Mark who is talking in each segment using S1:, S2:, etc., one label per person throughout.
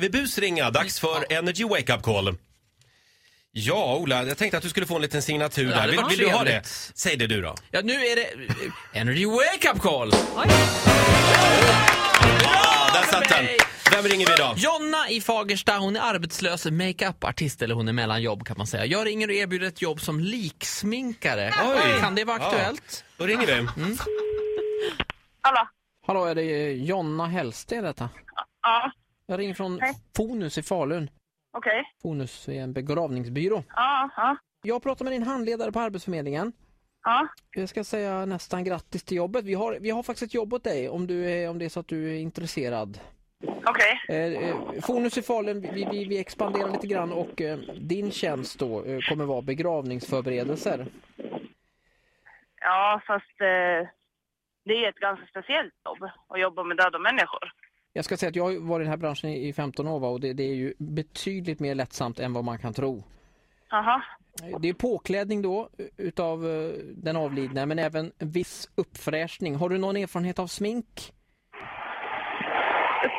S1: Är vi busringa? Dags för Energy Wake Up Call. Ja, Ola, jag tänkte att du skulle få en liten signatur
S2: Ja,
S1: där.
S2: det
S1: Vill,
S2: var
S1: vill du ha det?
S2: trevligt.
S1: Säg det du då.
S2: Ja, nu är det eh, Energy Wake Up Call.
S1: Ja, där satt den.
S2: mig!
S1: Vem ringer vi idag?
S2: Jonna i Fagersta, hon är arbetslös makeup-artist, eller hon är mellan jobb kan man säga. Jag ringer och erbjuder ett jobb som liksminkare.
S1: Oj.
S2: Kan det vara
S1: Ja.
S2: aktuellt?
S1: Då ringer vi.
S3: Hallå?
S2: Hallå, är det eh, Jonna Hellsten detta?
S3: Ja,
S2: Jag ringer från
S3: Hej.
S2: Fonus i Falun.
S3: okej.
S2: Fonus är en begravningsbyrå.
S3: Ja, ja,
S2: Jag pratar med din handledare på Arbetsförmedlingen.
S3: ja.
S2: Jag ska säga nästan grattis till jobbet. Vi har, vi har faktiskt ett jobb åt dig om, du är, om det är så att du är intresserad.
S3: Okej.
S2: Eh, eh, Fonus i Falun, vi, vi, vi expanderar lite grann och eh, din tjänst då eh, kommer vara begravningsförberedelser.
S3: Ja, fast eh, det är ett ganska speciellt jobb att jobba med döda människor.
S2: Jag ska säga att jag har ju varit i den här branschen i i 15 år va, och det, det är ju betydligt mer lättsamt än vad man kan tro.
S3: Jaha.
S2: Det är påklädning då eh, utav eh, den avlidne men även en viss uppfräschning. Har du någon erfarenhet av smink?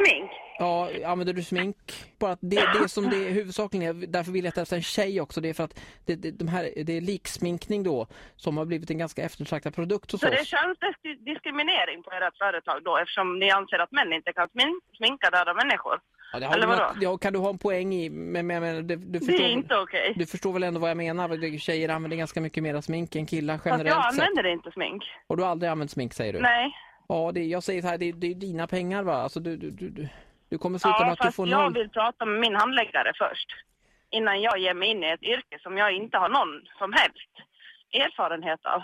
S3: Smink?
S2: Ja, använder du smink? Bara att det, det som det huvudsakligen är, därför vi letar efter en tjej också, det är för att det, det, de här, det är liksminkning då som har blivit en ganska eftertraktad produkt hos
S3: Så det
S2: oss.
S3: känns dis- diskriminering på ert företag då eftersom ni anser att män inte kan smin- sminka döda människor?
S2: Ja, det har
S3: eller
S2: du
S3: vadå?
S2: något- ja, kan du ha en poäng i, men, men, men du, du,
S3: Det
S2: förstår,
S3: är inte okej.
S2: du förstår väl ändå vad jag menar? Det- Tjejer använder ganska mycket mer smink än killar
S3: Fast jag
S2: generellt sett.
S3: använder inte smink.
S2: Och du har aldrig använt smink säger du?
S3: Nej.
S2: Ja, det, jag säger så här, det, det är dina pengar va? Alltså, du, du, du, du, du kommer sluta med
S3: Ja,
S2: att du
S3: fast
S2: får
S3: jag
S2: noll.
S3: vill prata med min handläggare först. Innan jag ger mig in i ett yrke som jag inte har någon som helst erfarenhet av.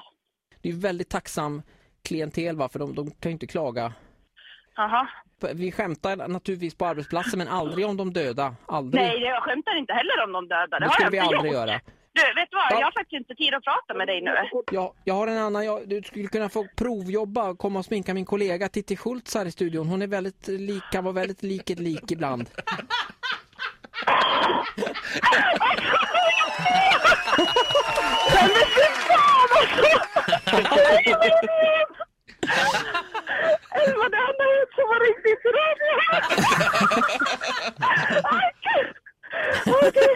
S2: Det är ju väldigt tacksam klientel va, för de, de kan ju inte klaga.
S3: Jaha.
S2: Vi skämtar naturligtvis på arbetsplatsen men aldrig om de döda. Aldrig.
S3: Nej, det- jag skämtar inte heller om de döda. Det,
S2: det
S3: har
S2: skulle
S3: jag
S2: vi
S3: inte
S2: aldrig
S3: gjort.
S2: göra.
S3: Du, vet du vad?
S2: Ja.
S3: Jag har faktiskt inte tid att prata med dig nu.
S2: Jag, jag har en annan, jag, du skulle kunna få provjobba och komma och sminka min kollega Titti Schultz här i studion. Hon är väldigt lik, kan vara väldigt lik ett lik ibland.
S3: Elva, det enda ut som var riktigt rörlig. Okej.